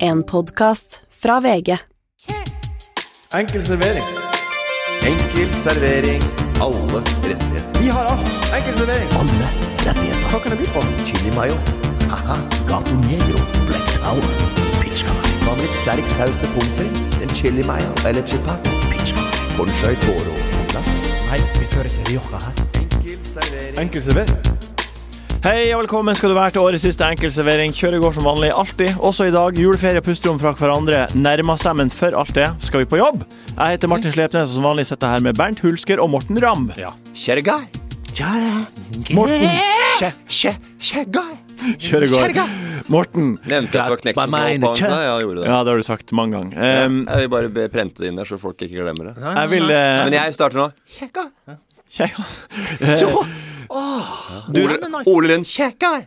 En podkast fra VG. Enkel servering. Enkel servering, alle rettigheter. Vi har alt. Enkel servering. Alle rettigheter. Hva kan det by på? Chili mayo. Haha. Gato Negro, Black Tower, Pizza, Hva med litt sterk saus til pommes frites? En chili mayo eller chipat? Pizza. Conchai toro på plass. Nei, vi fører til Rioja her. Enkel servering. Enkel servering. Hei og velkommen skal du være til årets siste enkelservering. Kjøret går som vanlig, alltid. Også i dag. Juleferie og pusterom fra hverandre nærmer seg, men for alt det skal vi på jobb. Jeg heter Martin Slepnes, og som vanlig sitter jeg her med Bernt Hulsker og Morten Ramm. Kjergai. Morten Kje, kje, kjergai. Kjøret går. Morten. Nevnte at det var Got knekten my som mind var på checked. Ja, jeg gjorde det. Ja, det har du sagt mange ganger. Ehm, Jeg vil bare be- prente det inn der, så folk ikke glemmer det. jeg vil eh, Men jeg starter nå. jeg- Ole- altså- Ole Lund Kjekkai.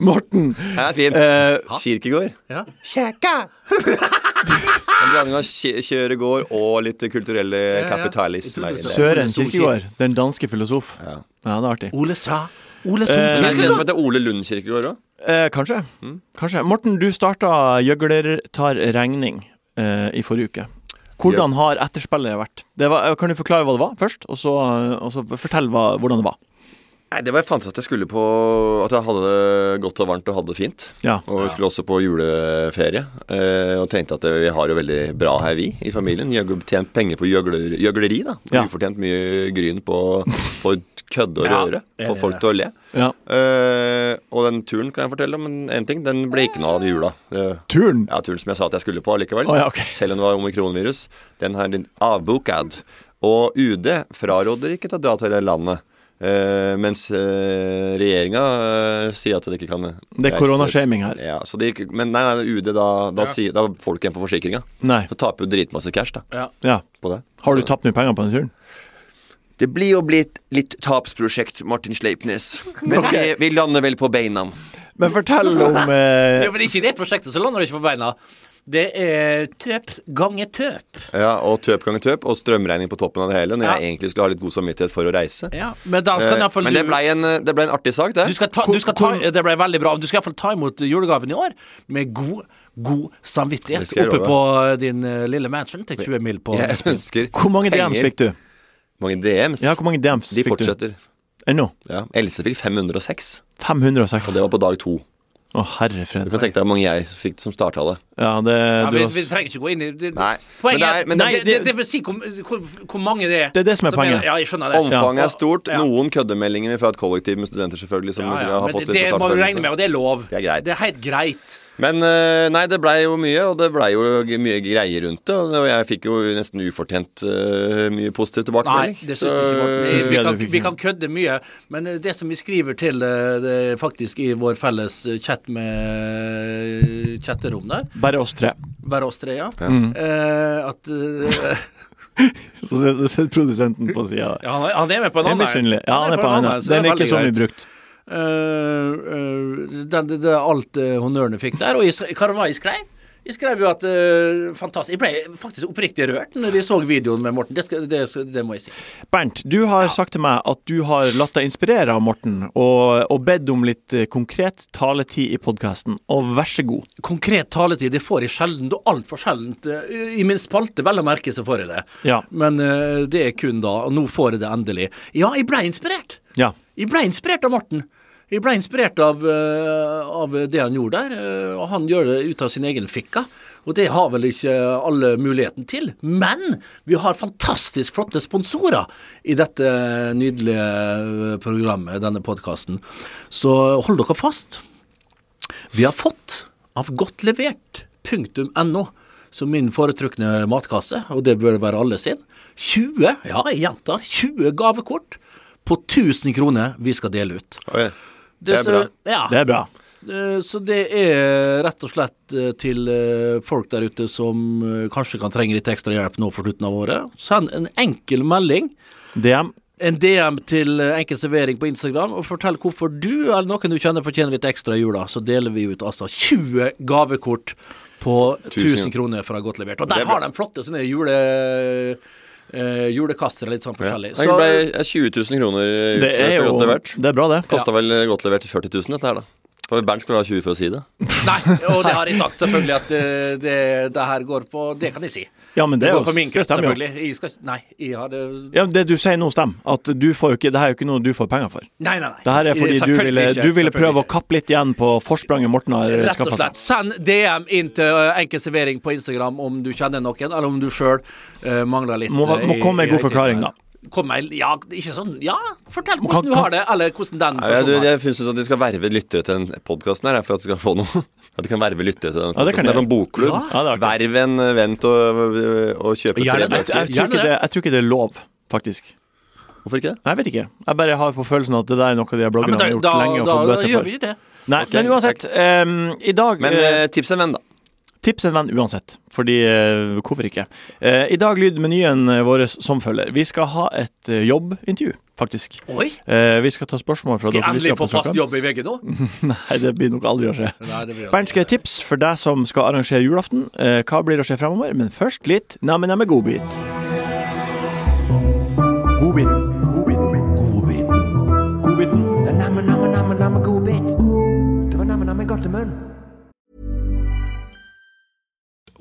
Morten. Den er fin. eh, Kirkegård. Kjekkai. En blanding av kje- kjøregård og litt kulturelle kapitalisme. i det. Søren Kirkegård. Den danske filosof. Ja, det er artig. Ole sa. Ole sa. Eh, Men er det det som heter Ole Lund Kirkegård òg? Eh, kanskje. kanskje. Morten, du starta 'Gjøgler tar regning' eh, i forrige uke. Hvordan har etterspillet vært? Det var, eh, kan du forklare hva det var først, og så, og så fortell hva, hvordan det var? Nei, det var jeg fant ut at jeg skulle på At jeg hadde det godt og varmt og hadde det fint. Ja. Og vi skulle også på juleferie. eh, Og tenkte at eh, vi har det veldig bra her, vi, i familien. Gjøgle, tjent penger på gjøgler, gjøgleri, da. Ja. Ufortjent mye gryn på, på kødde og røre. Få folk til å le. Ja. Eh, og den turen kan jeg fortelle om en- en ting. Den ble ikke noe av jula. Det- Turen! ja, turen som jeg sa at jeg skulle på likevel. Å, ja, ok. Selv om det var omikronvirus. Den har en avbokad. Og UD fraråder ikke til å dra til det landet. eh, mens uh, regjeringa eh, sier at det ikke kan Det er reise- koronashaming her. Ja, så det gikk, men nei, nei, UD, da, da, sier, da får du ikke en for forsikringa. Nei. Så taper du dritmasse cash da, Ja. på det. Har du tapt mye penger på den turen? Det blir jo blitt litt tapsprosjekt, Martin Sleipnes. Men vi, vi lander vel på beina. Men fortell om Ja, eh, men ikke i det prosjektet, så lander du ikke på beina. Det er tøp ganger tøp. Ja, Og tøp ganger tøp, og strømregning på toppen av det hele, når Ja. jeg egentlig skulle ha litt god samvittighet for å reise. Ja, men da skal Eh, i hvert fall Men det du- blei en, det ble en artig sak, det. du skal ta, du skal ta, Det ble veldig bra. Du skal iallfall ta imot julegaven i år med god, god Det samvittighet. skal jeg Oppe love. på din eh, lille mansion til 20 mil på Jeg ønsker Hvor mange DMs fikk du? Mange DMs? Ja, hvor mange DMs De fikk du? fortsetter. Ennå? Ja. Else fikk 506, og 506. det Å, var på dag to. herre Du fred. kan tenke deg hvor mange jeg fikk som starta det. Ja, det, ja, du vi, har vi trenger ikke gå inn i det, Nei, men det Poenget er- er men det, det- det, det vil si hvor, hvor, hvor mange det er. Det er det som er poenget. ja, jeg skjønner det. Omfanget er stort. Ja. Noen køddemeldinger fra et kollektiv med studenter, selvfølgelig. Som Ja, ja, har men fått det, det litt må betalt du for liksom. regne med, og det er lov. Det er greit. helt greit. Men eh, nei, det blei jo mye, og det blei jo g- mye greier rundt det. Og det- jeg fikk jo nesten ufortjent eh, mye positiv Nei, tilbakemelding. det syns jeg ikke. Morten. Så, Synes Vi, vi vi, at kan, du fikk vi det. kan kødde mye, men eh, det som vi skriver til eh, det, er faktisk i vår felles eh, chat med eh, chatterom der, Bare oss tre. bare oss tre, ja, Mm. eh, at eh, Så sitter- sitter produsenten på sida. ja, han, er, han er med på en Det er annen. misunnelig. Ja, han er på en annen. så Den er ikke veldig så mye greit. brukt. Eh, eh, den- det, det er alt eh, honnørene fikk der. Og jeg, skre- hva det var jeg skrev? Jeg skrev jo at eh, Fantastisk. Jeg ble faktisk oppriktig rørt når jeg så videoen med Morten. Det, skal, det, skal- det må jeg si. Bernt, du har sagt til meg at du har latt deg inspirere av Morten, og, og bedt om litt eh, konkret taletid i podkasten. Og vær så god. Konkret taletid det får jeg sjelden, og altfor sjeldent. eh, I min spalte, vel å merke, så får jeg det. Ja. Men eh, det er kun da, og nå får jeg det endelig. Ja, jeg ble inspirert. Ja. Jeg ble inspirert av Morten. Jeg ble inspirert av, eh, av det han gjorde der, eh, og han gjør det ut av sin egen fikka. Og det har vel ikke alle muligheten til. Men vi har fantastisk flotte sponsorer i dette nydelige eh, programmet, denne podkasten. Så hold dere fast. Vi har fått av godtlevert.no, som min foretrukne matkasse, og det bør være alle sin, 20, ja, jeg gjentar, 20 gavekort på 1000 kroner vi skal dele ut. Oi, det er så, bra. Ja, Det er bra. eh, så det er rett og slett eh, til eh, folk der ute som eh, kanskje kan trenge litt ekstra hjelp nå for slutten av året. Send en enkel melding DM. en DM til eh, Enkel servering på Instagram og fortell hvorfor du eller noen du kjenner fortjener litt ekstra i jula. Så deler vi ut altså 20 gavekort på 1000 1000 kroner fra Godt levert. Og Det der er bra. har de flotte sånne jule, eh, julekasser litt sånn Ja. forskjellig. Det Så ble 20 000 kroner Det er utført jo og godt levert. Det er bra, det. Kosta vel godt levert 40 000, dette her, da. For Bernt skulle ha 20 for å si det. Nei, og det har jeg sagt, selvfølgelig, at eh, det, det her går på Det kan jeg si. Ja, men det, er går jo- på min det kretsen, stemmer jo. selvfølgelig. Jeg skal, ikke- nei, jeg har det Nei, Ja, men det du sier nå stemmer. At du får jo ikke, det her er jo ikke noe du får penger for. nei, nei. Det her er fordi du Selvfølgelig ville, ikke, du ville selvfølgelig prøve å ikke. kappe litt igjen på forspranget Morten har Rett og skaffa slett. seg. Send DM inn til eh, Enkel servering på Instagram om du kjenner noen, eller om du sjøl mangler litt. Må, eh, må i- komme med i en god forklaring, da. Kom med, ja, ikke sånn Ja, fortell kan- hvordan du kan- har det, eller hvordan den Nei, jeg, personen har jeg det. synes at de skal verve lyttere til den podkasten her, for at de skal få noe. At de kan verve lyttere til den Ja, det kan podcasten. Det er de. sånn bokklubb. Ja, det er artig. Verv en eh, venn til å, å kjøpe Ja, tre det er Jeg, bøker. jeg, tror Gjerne ikke det. det, jeg tror ikke det er lov, faktisk. Hvorfor ikke det? Nei, jeg vet ikke. Jeg bare har på følelsen at det der er noe de her Ja, bloggerne men da, har gjort da, lenge og da, fått da bøter gjør for. vi det. Nei, Ok, men uansett. em, I dag Men eh, eh, tips en venn, da. Tips en venn uansett, fordi eh, hvorfor ikke? Eh, I dag lyder menyen eh, vår som følger. Vi skal ha et eh, jobbintervju, faktisk. Oi! Eh, vi skal ta spørsmål fra Skal jeg dere. endelig lyttere på få fast Instagram. jobb i VG nå? Nei, det blir nok aldri å skje. Nei, det blir Bernt skal jeg tips for deg som skal arrangere julaften. Eh, hva blir å skje fremover? Men først litt namme-namme godbit. Godbit. Godbit. Godbit. Godbiten. Det er namme, namme, namme, namme godbit. Det var namme, namme godtemunn.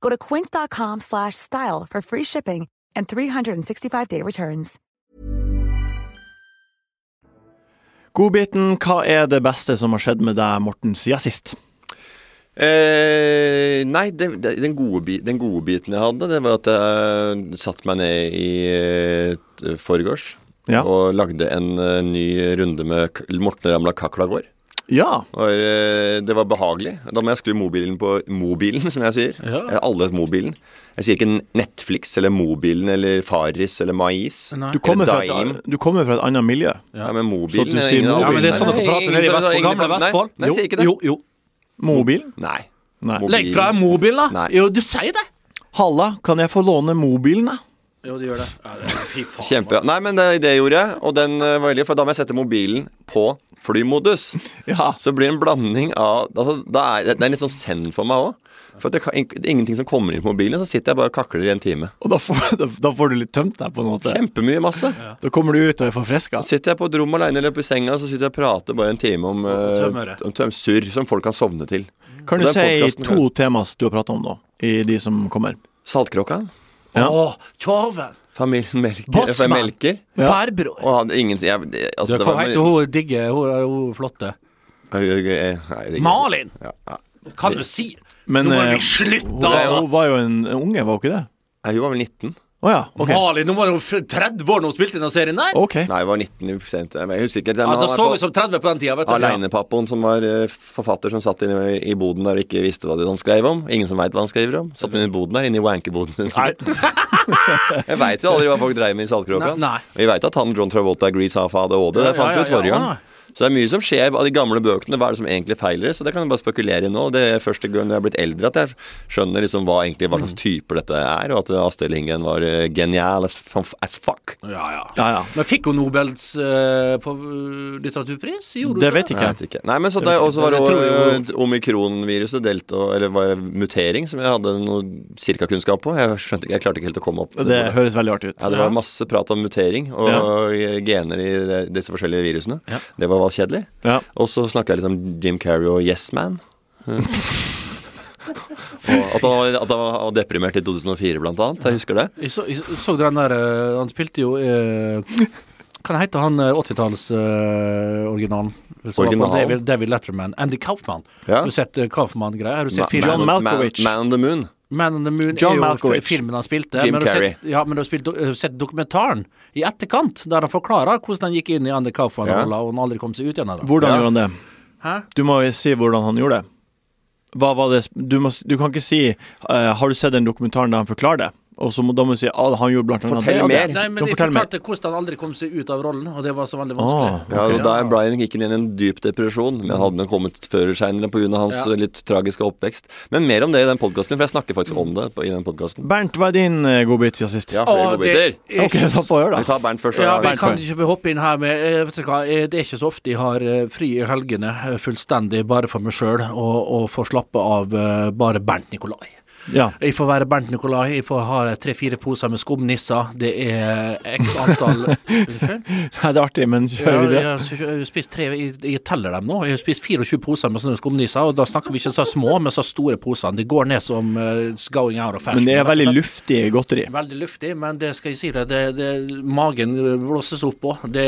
Go to quince.com/style slash style for free shipping and 365-day returns. Godbiten, hva er det beste som har skjedd med deg, Morten, siden sist? Eh, nei, det, det, den, gode bi, den gode biten jeg hadde, det var at jeg satte meg ned i eh, forgårs Ja. og lagde en eh, ny runde med K- Morten Ramla Kaklagård. Ja. Og, eh, det var behagelig. Da må jeg skru mobilen på mobilen, som jeg sier. Ja. Jeg- Alle heter mobilen. Jeg sier ikke Netflix eller mobilen eller Faris eller Mais. Nei. Du kommer, fra et, Eller Daim. du kommer fra et annet miljø. Ja, men mobilen Så du sier ingen av mobilen. Ja, men det er mobilene. sånn dere Nei, prater ingen nede i som- Vestfold, ingen gamle fra- nei, Vestfold. Nei, jeg sier ikke det. Jo, jo. Mobilen? Nei. Nei. Mobil. Legg fra deg mobilen, da. Nei. Jo, du sier det. Halla, kan jeg få låne mobilen, da? Jo, du gjør det. Ja, det fy faen. Kjempe. Nei, men det, det gjorde jeg, og den eh, var heldig, for da må jeg sette mobilen på flymodus. Ja. Så blir det en blanding av altså, da er, Det er litt sånn send for meg òg. For at det, kan, det er ingenting som kommer inn på mobilen, så sitter jeg bare og kakler i en time. Og da får, da, da får du litt tømt deg, på en måte. Kjempemye masse. Da kommer du ut og er forfriska. Så sitter jeg på et rom alene eller oppe i senga så sitter jeg og prater bare en time om, eh, tømmeret. om tømsurr som folk kan sovne til. Kan Og du den si podcasten to temas du har prata om nå, i de som kommer? Saltkråka. Ja. Å, tjoven. Familien Melker. Båtsmann. Båtsmann. Melker. Ja. Farbror. Og han, ingen jeg, det- altså, Du, det Hva var, heter hun digge, hun, hun flotte? Øy, øy, øy, øy, nei, det er ikke- Malin, Ja, ja. kan du si? Men Nå må eh, vi slutte, hun, altså. hun var jo en unge, var hun ikke det? Nei, Hun var vel 19? Å ja. Ok. Malin, nå var hun f- 30 år når hun spilte i den serien der. Ok. Nei, hun var 19 i prosent. Jeg husker ikke. Ja, men da han er så for- hun som 30 på den tida, vet du. Alenepappaen som var eh, forfatter som satt inne i boden der og ikke visste hva han skrev om. Ingen som veit hva han skriver om. Satt inne i boden der, inne i wankeboden sin. jeg veit jo aldri hva folk dreiv med i Saltkråka. Nei, nei. Vi veit at han John Travolta er Grease half ADHD. Det Ja, fant ja, vi ut ja, forrige ja, gang. ja. Så det er mye som skjer av de gamle bøkene. Hva er det som egentlig feiler? Så det kan jeg bare spekulere i nå. Det er første gang jeg er blitt eldre at jeg skjønner liksom hva, egentlig, hva Mm. slags typer dette er, og at eh, Astrid Lindgren var eh, genial as, as fuck. Ja, ja. Ja, ja. Men fikk hun Nobels eh, på, eh, litteraturpris? Gjorde hun Det vet Nei, ikke Jeg jeg. vet ikke. Nei, men så det, også var det Jeg tror jo omikronviruset, delta, eller var det mutering, som jeg hadde noe cirka-kunnskap på. Jeg, skjønte, ikke- jeg klarte ikke helt å komme opp til Det det. høres veldig artig ut. Ja, det var masse prat om mutering og gener i de- disse forskjellige virusene. Det var, var kjedelig. Ja. Og så snakka jeg litt om Jim Carrey og Yes Man. og at han, var, at han var deprimert i 2004, blant annet. Jeg husker det. Jeg så, jeg så den der eh, Han spilte jo eh, Kan hete han 80-tallsoriginalen? Originalen? David, David Letterman. Andy Kaufman. Ja. Har du sett eh, Kaufman-greia? Har du Ma- sett filmen? Man- John Malkovich. Man, man on the Moon. Man on the Moon John er jo Malkovich. f- filmen han spilte. Jim men har du Carrey. Sett, ja, men du har, spilt, do- har du sett dokumentaren i etterkant, der han forklarer hvordan han gikk inn i Andy Kaufman-rolla, og han aldri kom seg ut igjen av det. Hvordan Ja. gjorde han det? Hæ? Du må jo si hvordan han gjorde det. Hva var det Du, må, s- du kan ikke si eh, 'Har du sett den dokumentaren der han forklarer det?' Og så må, da må du si ah, 'Han gjorde blant annet Fortell det og det.» mer. Nei, men Du må de fortelle mer. fortalte hvordan han aldri kom seg ut av rollen, og det var så veldig vanskelig. Ah. Ja, og Da Brian gikk inn i en dyp depresjon, men hadde den kommet før seinere pga. hans Ja. eh, litt tragiske oppvekst. Men mer om det i den podkasten, for jeg snakker faktisk om det på- i den podkasten. Bernt, hva er din eh, godbit siden sist? Ja, Å, flere godbiter. det er OK, da ikke får jeg høre, Vi da. tar Bernt først. Ja, og vi Bernt. kan før. ikke vi hoppe inn her med eh, Vet du hva, eh, det er ikke så ofte jeg har eh, fri i helgene eh, fullstendig bare for meg sjøl, og, og får slappe av eh, bare Bernt Nikolai. Ja. Jeg får være Bernt Nikolai, jeg får ha tre-fire poser med skumnisser, det er x antall Unnskyld? Nei, det er artig, men kjør Ja, jeg videre. har s- jeg har spist tre, jeg, jeg teller dem nå. Jeg har spist 24 poser med sånne skumnisser, og da snakker vi ikke så små, men så store posene. De går ned som eh, it's going out of fashion. Men det er rett og veldig slett. luftig godteri. Veldig luftig, men det skal jeg si deg, det, det, magen eh, blåses opp på. Det,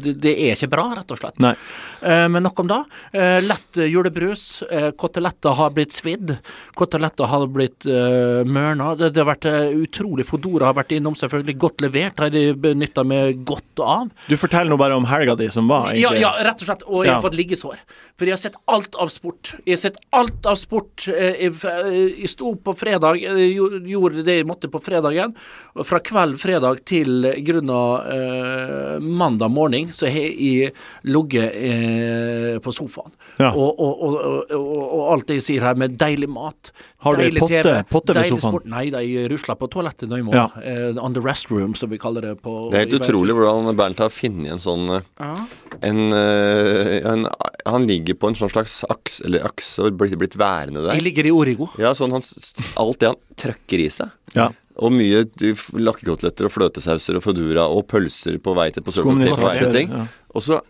det, det er ikke bra, rett og slett. Nei. Eh, men nok om det. Eh, lett eh, julebrus. Eh, koteletter har blitt svidd. Koteletter har blitt eh, mørna. Det, det har vært eh, utrolig Fodora har vært innom, selvfølgelig. Godt levert har de benytta meg godt av. Du forteller nå bare om helga di som var, Ja, egentlig. ja, rett og slett. Og jeg har Ja. fått liggesår. For jeg har sett alt av sport. Jeg har sett alt av sport. Eh, Jeg, eh, jeg sto opp på fredag, eh, gjo- gjorde det jeg måtte på fredagen. Og fra kveld fredag til eh, grunn av eh, mandag morgen, så har jeg ligget eh, på sofaen. Ja. Og, og, og, og, og, og alt det jeg sier her med deilig mat, Har du deilig potte- TV, potte ved deilig sofaen? sport. Nei, de rusler på toalettet nå i Ja. morgen. Eh, on the restroom, som vi kaller det på Det er helt i- utrolig hvordan Bernt har funnet en sånn eh, en, eh, en, Han ligger på en sånn slags aks, eller akse, og blitt, blitt værende Jeg der. ligger i Origo. Ja, sånn han, s- Alt det han trøkker i seg. Ja. Og mye d- f- lakkekoteletter og fløtesauser og fodora og pølser på vei til på Sørlandet. Skumnisser. på vei til ting. Ja. Og så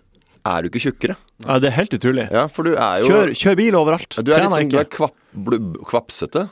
er du ikke tjukkere. ja, det er helt utrolig. Ja, for du er jo Kjør, kjør bil overalt. Du er litt Trener sånn, du er ikke. kvapp, blubb, kvapsete.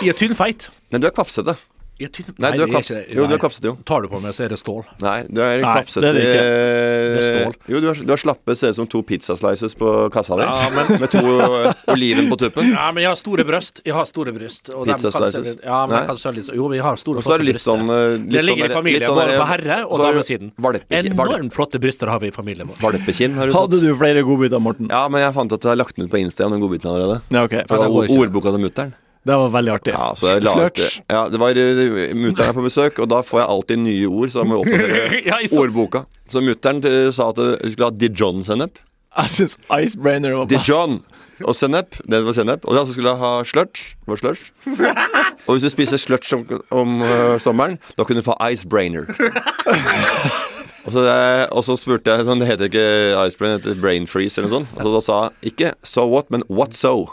Jeg er tynnfeit. Nei, du er kvapsete. Jeg tynn- Nei, du er det kvaps... ikke det. Jo, du Nei. er kvapsete, jo. Tar du på meg, så er det stål. Nei, du er Nei, kvapsete det er det ikke. eh, Det er stål. Jo, du har, du har slappe, ser ut som to pizzaslices på kassa di. Med to eh, oliven på tuppen. Ja, men jeg har store bryst. Jeg har store bryst. Og dem Pizza kan slices? se- Ja, men Nei. jeg kan se litt, jo, vi har store, Og så er flotte du litt bryster. sånn eh, litt det ligger sånn der- i familie, litt sånn både der- på herre- og så har du damesiden. Valpekinn, valp- Enormt flotte bryster har vi i familien vår. valpekinn har du Hadde fått. du flere godbiter, Morten? Ja, men jeg fant at jeg har lagt den ut på Insta, den godbiten allerede. Ja, ok. Fra den går ord- ikke. ordboka til mutter'n. Det var veldig artig. Ja, så jeg la ut Slurch. Ja, det var eh, Mutter'n er på besøk, og da får jeg alltid nye ord, så da må jeg oppdatere Ja, jeg så- ordboka. Så mutter'n eh, sa at vi skulle ha Dijon-sennep. Jeg syns Icebrainer var best. Dijon og sennep. Det var sennep. Og så skulle jeg ha sludge. Det var sludge. Og hvis du spiser sludge om, om øh, sommeren, da kunne du få icebrainer. Og så, det- og så spurte jeg sånn, Det heter ikke icebrain, det heter brain freeze eller noe sånt. Og så da sa jeg ikke so what, men what so.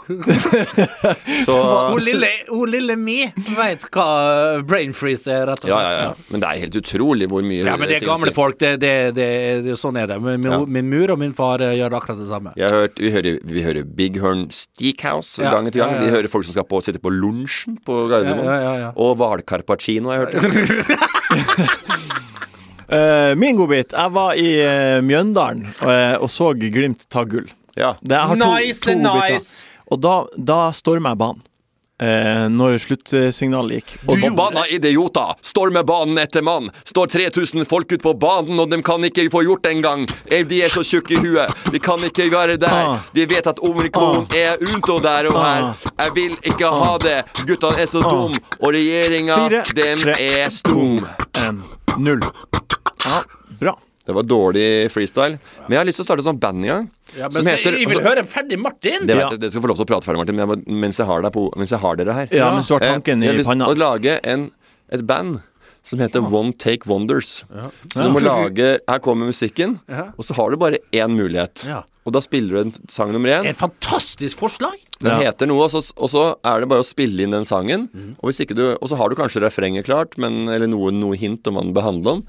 Så lille, hun lille mi veit hva brain freeze er, rett og Ja, ja, ja. Men det er helt utrolig hvor mye Ja, men det er ting å si. gamle folk. Det, det, det, det, sånn er det. Min, min, Ja. min mur og min far eh, gjør akkurat det samme. Jeg har hørt, vi, hører, vi hører Big Horn Steakhouse Ja, gang etter gang. ja, ja. Vi hører folk som skal på, sitte på lunsjen på Gardermoen. Ja, ja, ja, ja. Og hvalcarpacino har jeg hørt. Eh, min godbit. Jeg var i eh, Mjøndalen eh, og så Glimt ta gull. Ja. Det, jeg har to, to godbiter. Og da, da stormer jeg banen. Eh, når sluttsignalet gikk. Og da- Forbanna idioter! Stormer banen etter mann. Står 3000 folk ut på banen, og de kan ikke få gjort det engang. Eh, De er så tjukke i huet. De kan ikke være der. Ah. De vet at omikron er ute og der og her. Jeg vil ikke ha det. Guttene er så dum, og regjeringa, Ah. Fire, dem tre, er stum. en, Eh, null. Ja, bra. Det var dårlig freestyle. Men jeg har lyst til å starte et sånt band i gang. Ja, men som så, heter jeg vil altså, høre en ferdig Martin! det Ja. vet jeg, Dere skal få lov til å prate ferdig, Martin, men jeg, bare- mens, jeg har deg på, mens jeg har dere her. Ja, mens du har Eh, tanken jeg har i lyst panna. Å lage en, et band som heter One Take Wonders. Så du må lage Her kommer musikken, og så har du bare én mulighet. Ja. Og da spiller du en sang nummer én. Et fantastisk forslag! Den Ja. Mm. heter noe, og så, og så er det bare å spille inn den sangen. Og, hvis ikke du, og så har du kanskje refrenget klart, men, eller noe, noe hint om hva den behandler om.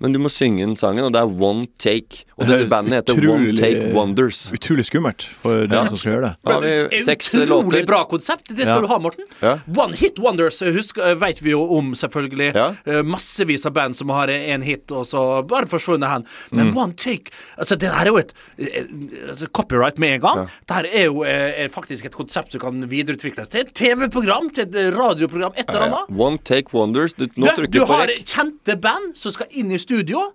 Men du må synge den sangen, og det er One Take. Og det høres bandet heter One utrolig- Take Wonders. Utrolig skummelt for den som skal gjøre det. Da har vi seks eh, Utrolig låter. bra konsept. Det Ja. skal du ha, Morten. Ja. One Hit Wonders eh, husk, vet vi jo om, selvfølgelig. Ja. Eh, Massevis av band som har én hit, og så bare forsvunnet hen. Men Mm. One Take altså Det her er jo et eh, altså, copyright med en gang. Det her er jo eh, er faktisk et konsept som kan videreutvikles til et TV-program, til et eh, radioprogram, et Ja, eller annet. One Take Wonders. Du, nå Du, trykker du du på har rekk. kjente band som skal inn i studio,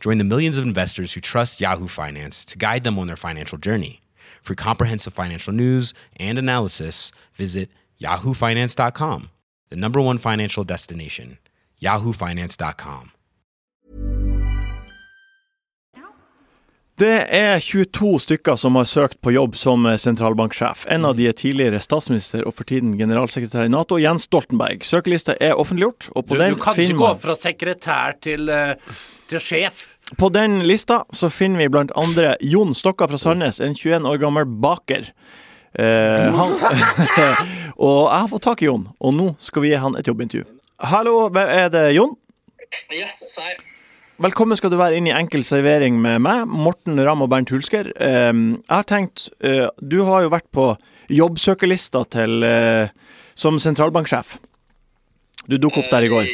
Join the millions of investors who trust Yahoo Finance to guide them on their financial journey. For comprehensive financial news and analysis, visit yahoofinance.com, the number one financial destination, yahoofinance.com. Det er 22 stykker som har søkt på jobb som eh, sentralbanksjef. En av de er tidligere statsminister og for tiden generalsekretær i Nato, Jens Stoltenberg. Søkelista er offentliggjort, og på Du, den du kan ikke finner gå man- fra sekretær til, eh, til sjef. På den lista så finner vi blant andre Jon Stokka fra Sandnes, en 21 år gammel baker. Eh, han, og jeg har fått tak i Jon, og nå skal vi gi han et jobbintervju. Hallo, hvem er det Jon? Yes, hei. Velkommen skal du være inn i Enkel servering med meg, Morten Ramm og Bernt Hulsker. Eh, jeg har tenkt, eh, du har jo vært på jobbsøkerlista til, eh, som sentralbanksjef. Du dukket opp der i går.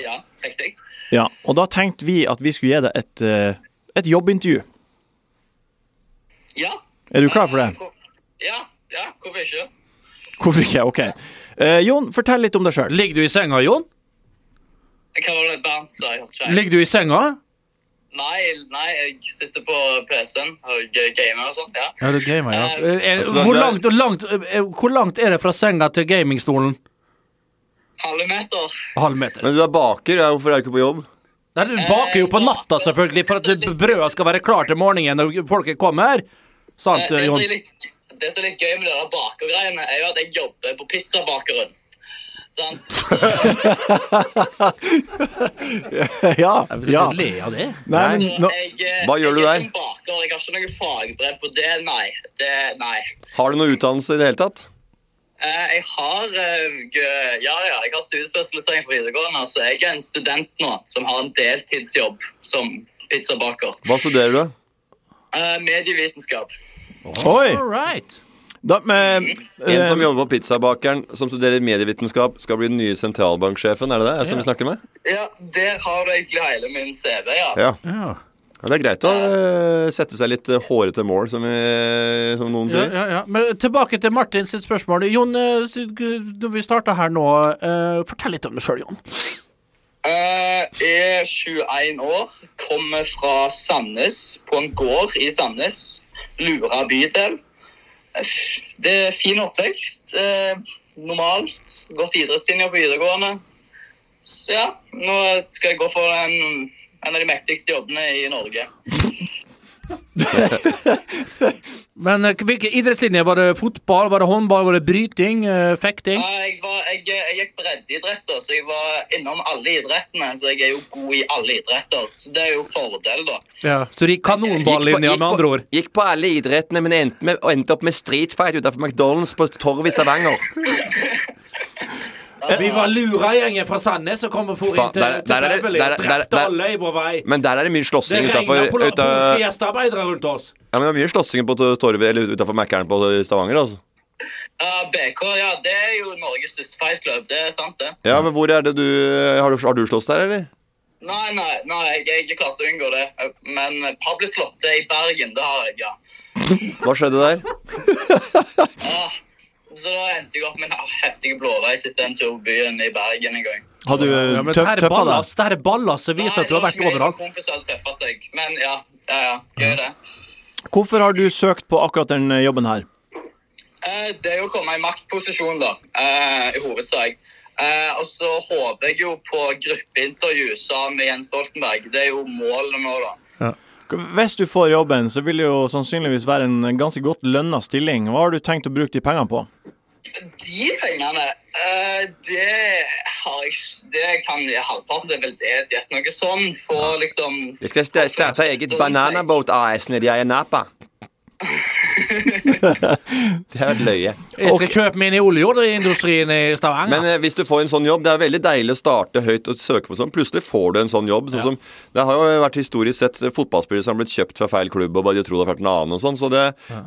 Ja, riktig. Ja, og da tenkte vi at vi skulle gi deg et, eh, et jobbintervju. Ja. Er du klar for det? Ja, ja, hvorfor ikke? Hvorfor ikke? Ok. Eh, Jon, fortell litt om deg sjøl. Ligger du i senga, Jon? Hva var det Bernt sa? Jeg hørte ikke. helt. Ligger du i senga? Nei, nei, jeg sitter på PC-en og gamer og sånt, ja. Ja, du gamer, ja. Eh, Eh, eh, altså, Hvor det- langt, langt, eh, hvor langt er det fra senga til gamingstolen? Halve meter. Halv meter. Men du er baker, ja, hvorfor er du ikke på jobb? Nei, du baker jo på natta, selvfølgelig, for at eh, brødet skal være klart til morgenen når folket kommer. Eh, Sant, Det, eh, som Jon? er litt, det som er litt gøy med det der bakergreiene, er jo at jeg jobber på pizzabakeren. Sant? ja, ja. Le av det. Nei, men nå, Jeg, eh, Hva gjør du jeg Jeg der? er ikke en baker, jeg har ikke noe fagbrev på det, nei. Det, nei. Har du noe utdannelse i det hele tatt? Eh, Jeg har, eh, g- ja, ja, jeg har studiespesialisering på videregående, så jeg er en student nå som har en deltidsjobb som pizzabaker. Hva studerer du? Eh, Medievitenskap. oi! All right. Da, men, En som eh, jobber på pizzabakeren, som studerer medievitenskap, skal bli den nye sentralbanksjefen, er det det som vi snakker med? Ja, der har du egentlig hele min CV, ja. Ja. Ja, Ja, Det er greit å eh, sette seg litt eh, hårete mål, som, vi, som noen ja, sier. ja, ja. Men tilbake til Martin sitt spørsmål. Jon, eh, s- g- når vi starta her nå, eh, fortell litt om deg sjøl, Jon. Eh, er 21 år, kommer fra Sandnes, på en gård i Sandnes. Lura bydel. Eh, Det er fin oppvekst. eh, normalt. Gått idrettslinja på videregående. Så ja, nå skal jeg gå for en, en av de mektigste jobbene i Norge. Men eh, hvilke idrettslinjer? Var det fotball, var det håndball, var det bryting, eh, fekting? Ja, Jeg, var, jeg, jeg gikk breddeidretter, så jeg var innom alle idrettene. Så jeg er jo god i alle idretter. Så det er jo fordel, da. Ja. Så de kanonballinja, med andre ord. gikk på alle idrettene, men endte, med, og endte opp med street fight utenfor McDonald's på Torv i Stavanger. Vi var luragjengen fra Sandnes som kom og for Faen, inn til, der- til der er det- Beverly der er- og drepte der- der- alle i vår vei. Men der er det mye Det slåssing regna utenfor pol- uten, polske ja, gjestearbeidere rundt oss. men det er mye slåssing på Torvet eller utenfor Mækkern på Stavanger. altså Ja, BK, ja, det er jo Norges største fightklubb. Det er sant, det. Ja, men hvor er det du eh, Har du, har du slåss der, eller? Nei, nei, nei, jeg, jeg klarte å unngå det. Men Pableslottet i Bergen, det har jeg, ja. Hva skjedde der? Så da endte jeg opp med en heftig blåveis etter en tur på byen i Bergen en gang. har du eh, Ja, men tøff, dette er tøffa deg? ballast, dette er ballast som viser at du har vært overalt. Kompiser tøffa seg, men ja, ja, ja, gøy det. Hvorfor har du søkt på akkurat den eh, jobben her? Eh, Det er jo å komme i maktposisjon, da, eh, i hovedsak. Eh, og så håper jeg jo på gruppeintervju sammen med Jens Stoltenberg. Det er jo målet nå, da. Hvis du får jobben, så vil det jo sannsynligvis være en ganske godt lønna stilling. Hva har du tenkt å bruke de pengene på? De pengene, eh, det har jeg Det kan jeg halvparten det er veldedighet, noe sånn. For liksom Jeg skal sta- starte eget Bananaboat AS nede i Ayanapa. Det er løye. Jeg skal kjøpe min i oljeindustrien i Stavanger. Men eh, hvis du får en sånn jobb, det er veldig deilig å starte høyt og søke på sånn. Plutselig får du en sånn jobb. Sånn som, det har jo vært historisk sett eh, fotballspillere som har blitt kjøpt fra feil klubb og bare de tror det har vært en annen og sånn. Så det,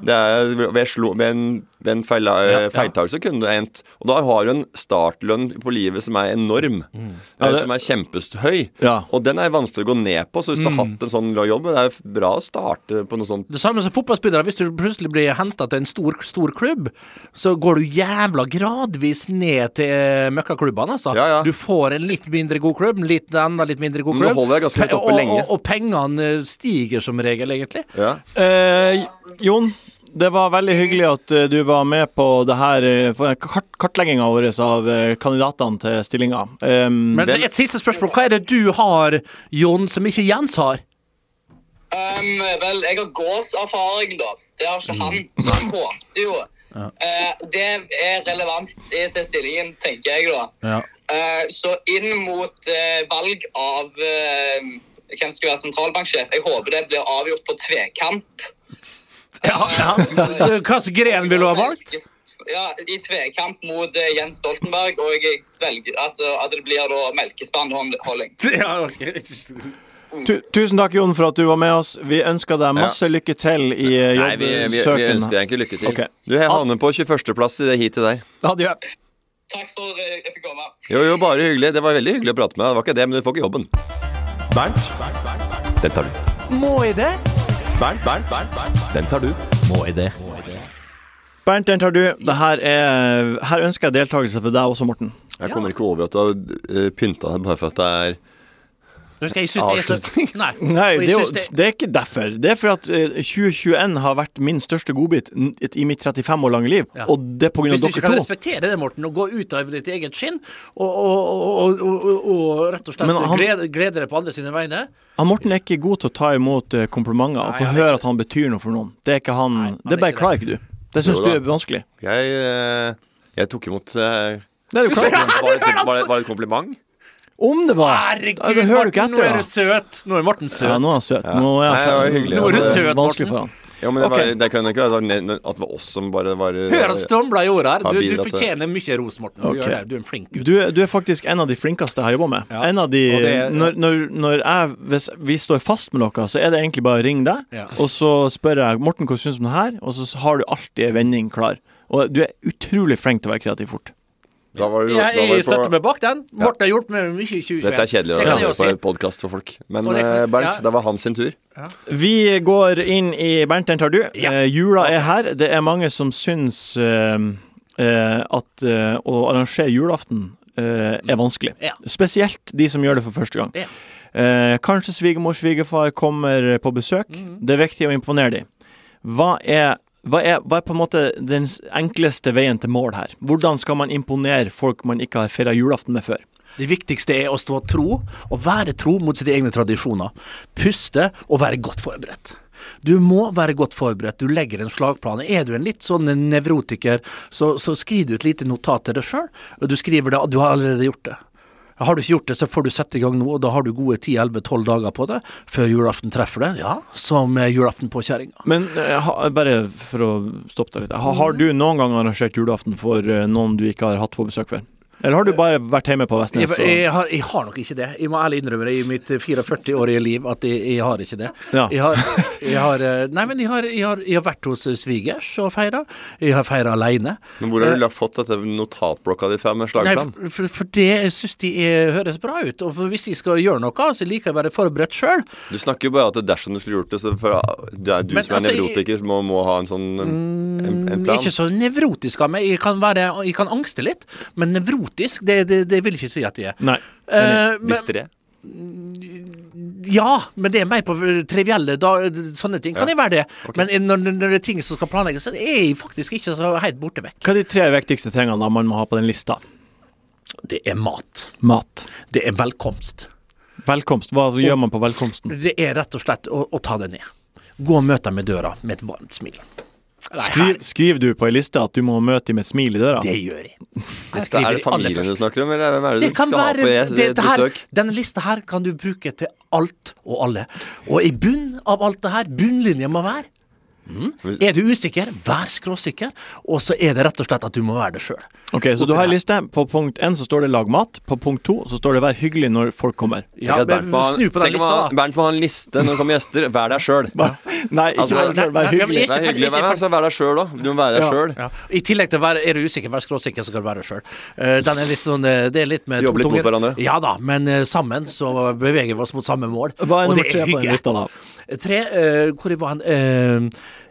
det er ved, slo, ved en Ved en feil, Ja, ja. feiltakelse kunne det endt Og da har du en startlønn på livet som er enorm. Mm. Ja, eh, det- Som er kjempehøy. Ja. Mm. Og den er vanskelig å gå ned på. Så hvis du har hatt en sånn jobb, det er jo bra å starte på noe sånt. Det samme som fotballspillere. Hvis du plutselig blir henta til en stor, stor klubb, så går du jævla gradvis ned til møkkaklubbene, altså. Ja, ja. Du får en litt mindre god klubb, en litt enda litt mindre god Men klubb. det holder jeg ganske høyt Pe- oppe og, lenge. Og, og pengene eh, stiger som regel, egentlig. Ja. Eh, Jon, det var veldig hyggelig at eh, du var med på det her eh, for- kart kartlegginga vår av eh, kandidatene til stillinga. Um, Men Vel- et siste spørsmål. Hva er det du har, Jon, som ikke Jens har? Ehm, vel, jeg har gårdserfaring, da. Det har ikke han. Så han håpte jo. Eh, det er relevant i- til stillingen, tenker jeg, da. Ja. Eh, så inn mot eh, valg av eh, hvem som skal være sentralbanksjef Jeg håper det blir avgjort på tvekamp. Hvilken Eh, gren vil du ha valgt? Ja, I tvekamp mot eh, Jens Stoltenberg, og jeg velger altså, at det blir da melkespannholding. Ja, okay. tu tusen takk, Jon, for at du var med oss. Vi ønsker deg masse lykke til i eh, Nei, vi, vi, vi jobbsøken. ønsker deg egentlig lykke til. Ok. Du, jeg havner på 21.-plass i det heatet der. Adjø. Takk for eh, at jeg fikk komme. Jo, jo, bare hyggelig. Det var veldig hyggelig å prate med deg. Det var ikke det, men du får ikke jobben. Bernt, Den tar du. Må jeg det? Bernt, Bernt, Bernt, Bernt. Den tar du. Må jeg det? Bernt, den tar du. Det her, er, her ønsker jeg deltakelse for deg også, Morten. Jeg kommer ikke over at du har eh, pynta deg bare for at det er Jeg synes det er så... Nei, Nei, Og det jeg er, jo, synes det- det er ikke derfor. Det er fordi at eh, 2021 har vært min største godbit n- i mitt 35 år lange liv, Ja. og det er på grunn Hvis av du ikke kan dere to. respektere det, Morten, og gå ut av ditt eget skinn og, og, og, og, og, og rett og slett Men han- glede, glede deg på andre sine vegne Han Morten er ikke god til å ta imot eh, komplimenter og Nei, få han er høre ikke at han betyr noe for noen. Det er ikke han, Nei, han det er bare ikke klarer ikke du. Det syns Jo du da. er vanskelig. Jeg, eh, jeg tok imot eh, Det er du klar over. var, det, var, det, var det et kompliment? Om det var Ja, det hører du ikke etter, da. søt! Nå er Morten søt. Ja, nå er han søt. Nå er Nei, det var han hyggelig. Nå Nå er du det søt, vanskelig Morten. for han. Ja, men det, Ok. var, det kan jeg ikke være at det var- at det var oss som bare var Hør han stumler i jorda Har her. Du, du bidratt til- fortjener mye ros, Morten. Du, Ok. gjør det. du er en flink gutt. Du, er- du er faktisk en av de flinkeste jeg har jobba med. Ja. En av de, Og det- når, når, når jeg, Hvis vi står fast med noe, så er det egentlig bare å ringe deg, Ja. og så spør jeg Morten hva syns du om det her, og så har du alltid en vending klar. Og du er utrolig flink til å være kreativ fort. Da var det- da var Jeg, det jeg på- støtter meg bak den. Morten har hjulpet meg mye i 2021. Dette er kjedelig å Det kan høre jeg jo på si. en podkast for folk. Men Og det kan- eh, Bernt, ja. det var hans sin tur. Vi går inn i Bernt, den tar du. Ja. Eh, jula er her. Det er mange som syns eh, eh, at eh, å arrangere julaften eh, er vanskelig. Ja. Spesielt de som gjør det for første gang. Ja. Eh, kanskje svigermor og svigerfar kommer på besøk. Det er viktig å imponere dem. Hva er, hva, er, hva er på en måte den s- enkleste veien til mål her? Hvordan skal man imponere folk man ikke har feira julaften med før? Det viktigste er å stå tro, og være tro mot sine egne tradisjoner. Puste og være godt forberedt. Du må være godt forberedt, du legger en slagplan. Er du en litt sånn nevrotiker, så, så skriv du et lite notat til deg sjøl. Du skriver det, du har allerede gjort det. Har du ikke gjort det, så får du sette i gang nå, og da har du gode 10-11-12 dager på det før julaften treffer deg. Ja, som eh, julaften på kjerringa. Men eh, ha, bare for å stoppe deg litt. Ha, har du noen gang arrangert julaften for eh, noen du ikke har hatt på besøk før? Eller har du bare vært hjemme på Jeg, Vestnes? Og, jeg, har, jeg har nok ikke det. Jeg må ærlig innrømme det i mitt 44-årige liv at jeg, jeg har ikke det. Ja. Jeg har, jeg har, eh, nei, men jeg har, jeg har, jeg har vært hos eh, svigers og feira. Jeg har feira aleine. Men hvor har du lagt- fått dette notatblokka di fra med slagplan? For, for- for det jeg syns de er, høres bra ut. Og for hvis jeg skal gjøre noe, så liker jeg å være forberedt sjøl. Du snakker jo bare at dersom du skulle gjort det, så for, det er du Men som er altså, jeg- nevrotiker som må, må ha en sånn um, en, en plan. Ikke så nevrotisk av meg. Jeg kan, være, jeg kan angste litt, men nevrotisk, det, det, det vil jeg ikke si at jeg er. Nei. Eh, men- Distré. Ja, men det er mer på eh, trivielle da, sånne ting. Kan Ja. jeg være det? Men eh, når, når det er ting som skal planlegges, så er jeg faktisk ikke så helt borte vekk. Hva er de tre viktigste tingene da man må ha på den lista? Det er mat. Mat. Det er velkomst. Velkomst. Hva gjør man på velkomsten? Det er rett og slett å, å ta det ned. Gå og møte dem i døra med et varmt smil. Nei, Skriv, her, skriver du på ei liste at du må møte dem med et smil i døra? det gjør jeg. Det Det er skriver det jeg aller familien du først. snakker om, eller hvem er det Det du kan skal ha være på det, et det her, besøk? Denne lista her kan du bruke til alt og alle. Og i bunn av alt det her, bunnlinja må være Mm. Er du usikker, vær skråsikker, og så er det rett og slett at du må være det sjøl. Ok, Så du har en liste. På punkt én så står det 'lag mat'. På punkt to så står det 'vær hyggelig når folk kommer'. Tenk at Bernt må ha- tenk om han- Bernt må ha en liste når det kommer gjester. Vær deg sjøl. Nei, ikke vær deg selv, vær hyggelig. Vær hyggelig, men altså, vær deg sjøl òg. Du må være deg sjøl. I tillegg til å være er du usikker, vær skråsikker, så skal du være deg sjøl. Eh, den er litt sånn eh, Det er litt med Jobbe litt mot tungtungen. hverandre. Ja da, men eh, sammen så beveger vi oss mot samme mål. Hva er og nummer det tre er på den hygge. lista, da? Tre, eh, hvor var han? Eh,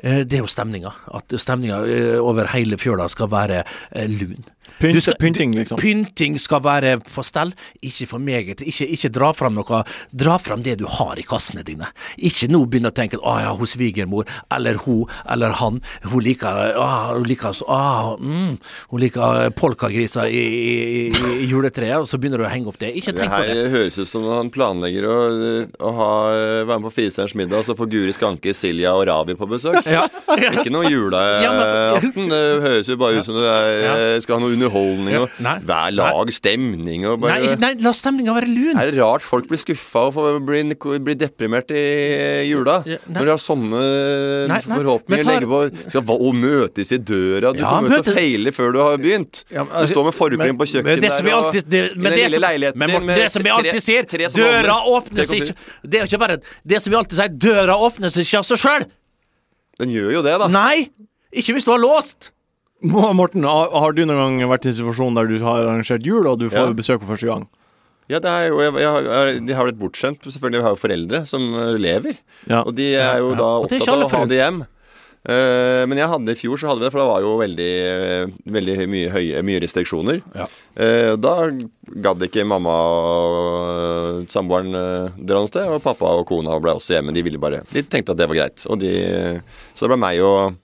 eh, det er jo stemninga. At stemninga eh, over hele fjøla skal være eh, lun. Pynt- Du skal- pynting, liksom. Pynting skal være på stell, ikke for meget. Ikke, ikke dra fram noe Dra fram det du har i kassene dine. Ikke nå begynne å tenke Å ja, hun svigermor, eller hun, eller han. Hun liker ah, Hun liker, så- ah, mm, hun liker polkagriser i, i, i- i juletreet, og så begynner du å henge opp det. Ikke Det tenk på her det. høres ut som han planlegger å, å ha, eh, være med på Firestjerners middag, og så får Guri Skanke, Silja og Ravi på besøk. Ja. Ikke noe juleaften. Det høres jo bare ut som du er, eh, skal ha noe underholdning og Nei. hver lag stemning og Nei, bare ikke- nei, la stemninga være lun. er det rart folk blir skuffa og får- blir, blir deprimert i jula? Ja, nei. Når de har sånne Nei, nei, men forhåpninger. tar- legge på skal va- Og møtes i døra. Du Ja, kommer til møtes- å feile før du har begynt. Ja, men- du står med forkleet på kjøkkenet men det som vi der og- alltid, det, i den men det lille som, leiligheten men din Morten, med det som vi tre- alltid sier, tre som døra Tre åpner seg kompiser. ikke Det er jo ikke verre. Det som vi alltid sier, døra åpner seg ikke av seg sjøl. Den gjør jo det, da. Nei! Ikke hvis du har låst. Må- Morten, har har du noen gang vært i en situasjon der du har arrangert jul, og du får Ja. besøk for første gang? Ja, det er jo, jeg, jeg, har- jeg, de har blitt bortskjemt. Selvfølgelig har jeg jo foreldre som eh, lever. Ja. Og de er jo da Og det er opptatt ikke alle av å ha forunt. det hjem. Eh, men jeg hadde i fjor, så hadde vi det, for det var jo veldig, eh, veldig høy- mye, høye, mye restriksjoner. Ja. Eh, og da gadd ikke mamma og eh, samboeren eh, dra noe sted, og pappa og kona ble også hjemme. De ville bare, de tenkte at det var greit. Og de, så det ble meg og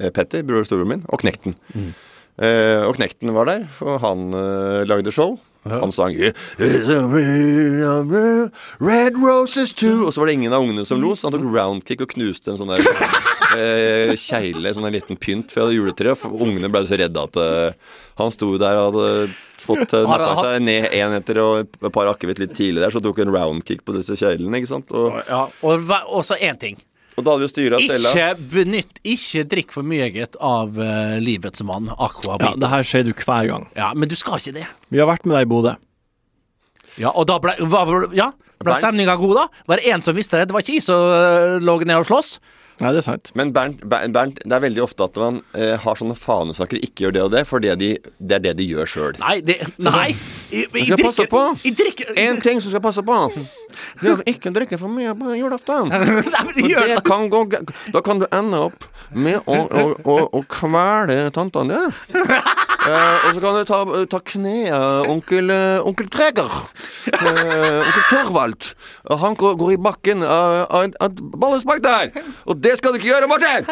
eh, Petter, bror og storebroren min, og Knekten. Mm. Eh, og Knekten var der, og han eh, lagde show. Han sang Red roses too Og så var det ingen av ungene som lo, så han tok roundkick og knuste en sånn der eh, kjegle, sånn en liten pynt fra juletreet. For ungene ble så redde at eh, han sto der og hadde fått eh, nappa seg ned én etter og et par akevitt litt tidlig der, så tok han roundkick på disse kjeglene, ikke sant. Og, Og hva- og så én ting. og da hadde vi styra stella. Ikke benytt Ikke drikk for mye eget av eh, livets mann, aqua Ja, vita. det her skjer du hver gang. Ja, men du skal ikke det. Vi har vært med deg i Bodø. Ja, og da ble, hva, var- ja, ble stemninga god, da? Var det én som visste det? Det var ikke jeg som eh, lå ned og sloss? Nei, det er sant. Men Bernt, Bernt, Bernt, det er veldig ofte at man eh, har sånne fanesaker, ikke gjør det og det, for det, de, det er det de gjør sjøl. Nei, det Nei! Jeg, jeg, skal passe på. Jeg drikker, Én ting som skal passe på, det er å ikke drikke for mye på julaften. Nei, men For gjør det kan gå, ga- da kan du ende opp med å, å, å, å kvele tantene dine. Eh, og så kan du ta, ta kneet onkel, eh, onkel Greger. Eh, onkel Torvald. Og Han går, går i bakken av av en- av et ballespark der. Og det skal du ikke gjøre, Martin!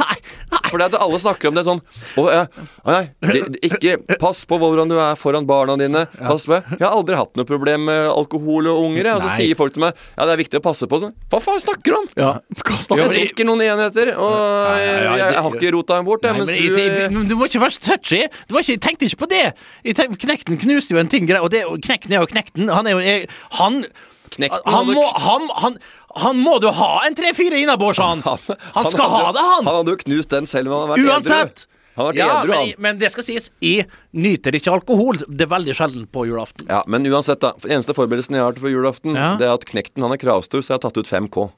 Nei, nei. For det at alle snakker om det sånn og, eh, Nei, det, det, ikke Pass på hvordan du er foran barna dine. Pass med. Jeg har aldri hatt noe problem med alkohol og unger. jeg. Og så Nei. sier folk til meg Ja, det er viktig å passe på. Sånn, Hva faen snakker du om? Ja. Hva Jeg snakker du om? drikker noen enheter, og jeg, ja, jeg, det- har ikke rota den bort. Jeg, Nei, mens men jeg, jeg, du men du må ikke være så touchy. Du var ikke, jeg tenkte ikke på det. Jeg tenkte, knekten knuste jo en ting, grei- og det, og knekten er jo knekten. Han er jo jeg, han, Knekten han, hadde- må, han, han, han må du ha en tre-fire innabords, han. Han, skal hadde- ha det, han. Han hadde jo knust den selv om han hadde vært Uansett. edru. Han hadde vært Ja, edru, men, han. men det skal sies, jeg nyter ikke alkohol. Det er veldig sjelden på julaften. Ja, Men uansett, da. for Eneste forberedelsen jeg har til på julaften, Ja. det er at knekten han er kravstor, så jeg har tatt ut 5K.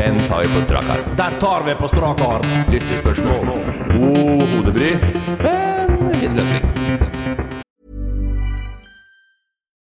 Den tar vi på strak arm. Den tar vi på strak arm. Lyttespørsmål. God hodebry. Men fin løsning.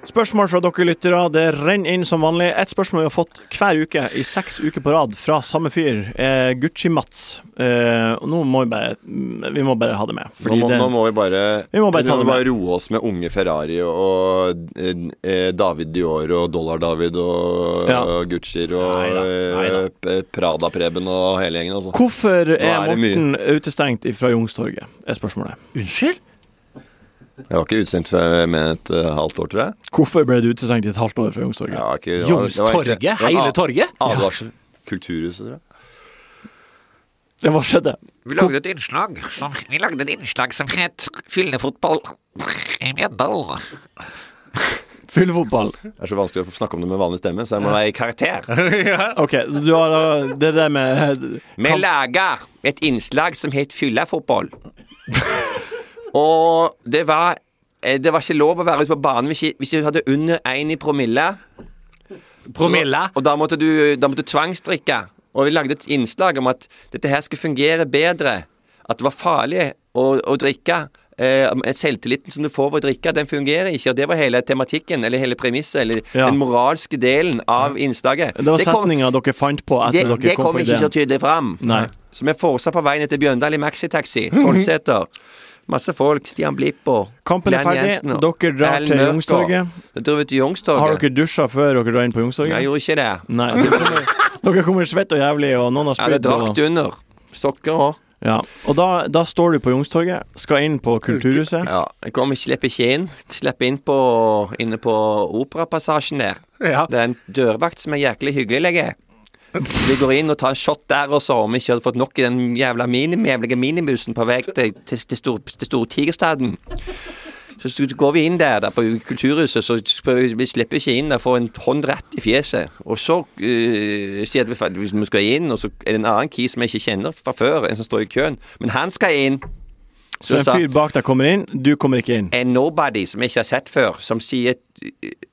Spørsmål fra dere lyttere. Det renner inn som vanlig. Et spørsmål vi har fått hver uke i seks uker på rad fra samme fyr, eh, Gucci-Mats. Eh, og nå må vi bare, vi må bare ha det med. Nå må, det- nå må vi bare, Vi må bare ta det med. roe oss med unge Ferrari og eh, David Dior og Dollar-David og, Ja. og Guccier og Neida, eh, P- Prada-Preben og hele gjengen. Altså. Hvorfor Nå er det mye. Morten utestengt fra Youngstorget, er spørsmålet. Unnskyld? Jeg var ikke utsendt før- med et eh, halvt år, tror jeg. Hvorfor ble du utestengt i et halvt år fra Youngstorget? Jeg var ikke- det var- det var ikke- det Youngstorget? var en Hele ad- torget? Advarsel. Kulturhuset, tror jeg. Ja, hva skjedde? Vi lagde et innslag som, vi lagde et innslag som het Fyllefotball i Mjøndalen. Fyllefotball. Det er så vanskelig å snakke om det med vanlig stemme, så jeg må være i karakter. OK, så du har da det der med Vi laga et innslag som het Fyllafotball. og det var eh, Det var ikke lov å være ute på banen hvis ikke- hvis du hadde under én i promille. Promille? Så, og da måtte du, da måtte du tvangsdrikke. Og vi lagde et innslag om at dette her skulle fungere bedre. At det var farlig å, å drikke. Eh, selvtilliten som du får ved å drikke, den fungerer ikke. Og det var hele tematikken, eller hele premisset, eller Ja. den moralske delen av innslaget. Det var kom- setninga dere fant på etter det, dere det kom kom på ikke ideen. så tydelig fram. Nei. Så vi forsa på veien etter Bjøndal i maxitaxi. Tolv seter. Masse folk. Stian Blippo. Kampen er Glenn ferdig. Jensen og Dere drar Erlend til Mørker. Youngstorget. Da dro vi til Youngstorget. Har dere dusja før dere drar inn på Youngstorget? Jeg gjorde ikke det. Nei. Dere kommer svett og jævlig, og noen har Jeg hadde spydd. og- drakt under. Sokker òg. Ja. Og da, da står du på Youngstorget, skal inn på Kulturhuset. Ja. Jeg kom, slipper ikke inn. Slipper inn på, inne på Operapassasjen der. Ja. Det er en dørvakt som er jæklig hyggelig, legge. Vi går inn og tar en shot der også, om vi ikke hadde fått nok i den jævla minim, jævlige minibussen på vei til, til, til, stor, til Stortigerstaden. Så s- går vi inn der, der på Kulturhuset, så s- prøver vi- vi slipper ikke inn der, får en hånd rett i fjeset. Og så eh, sier vi at vi skal inn, og så er det en annen key som jeg ikke kjenner fra før, en som står i køen, men han skal inn. Så en sa- fyr bak deg kommer inn, du kommer ikke inn. en nobody som jeg ikke har sett før, som sier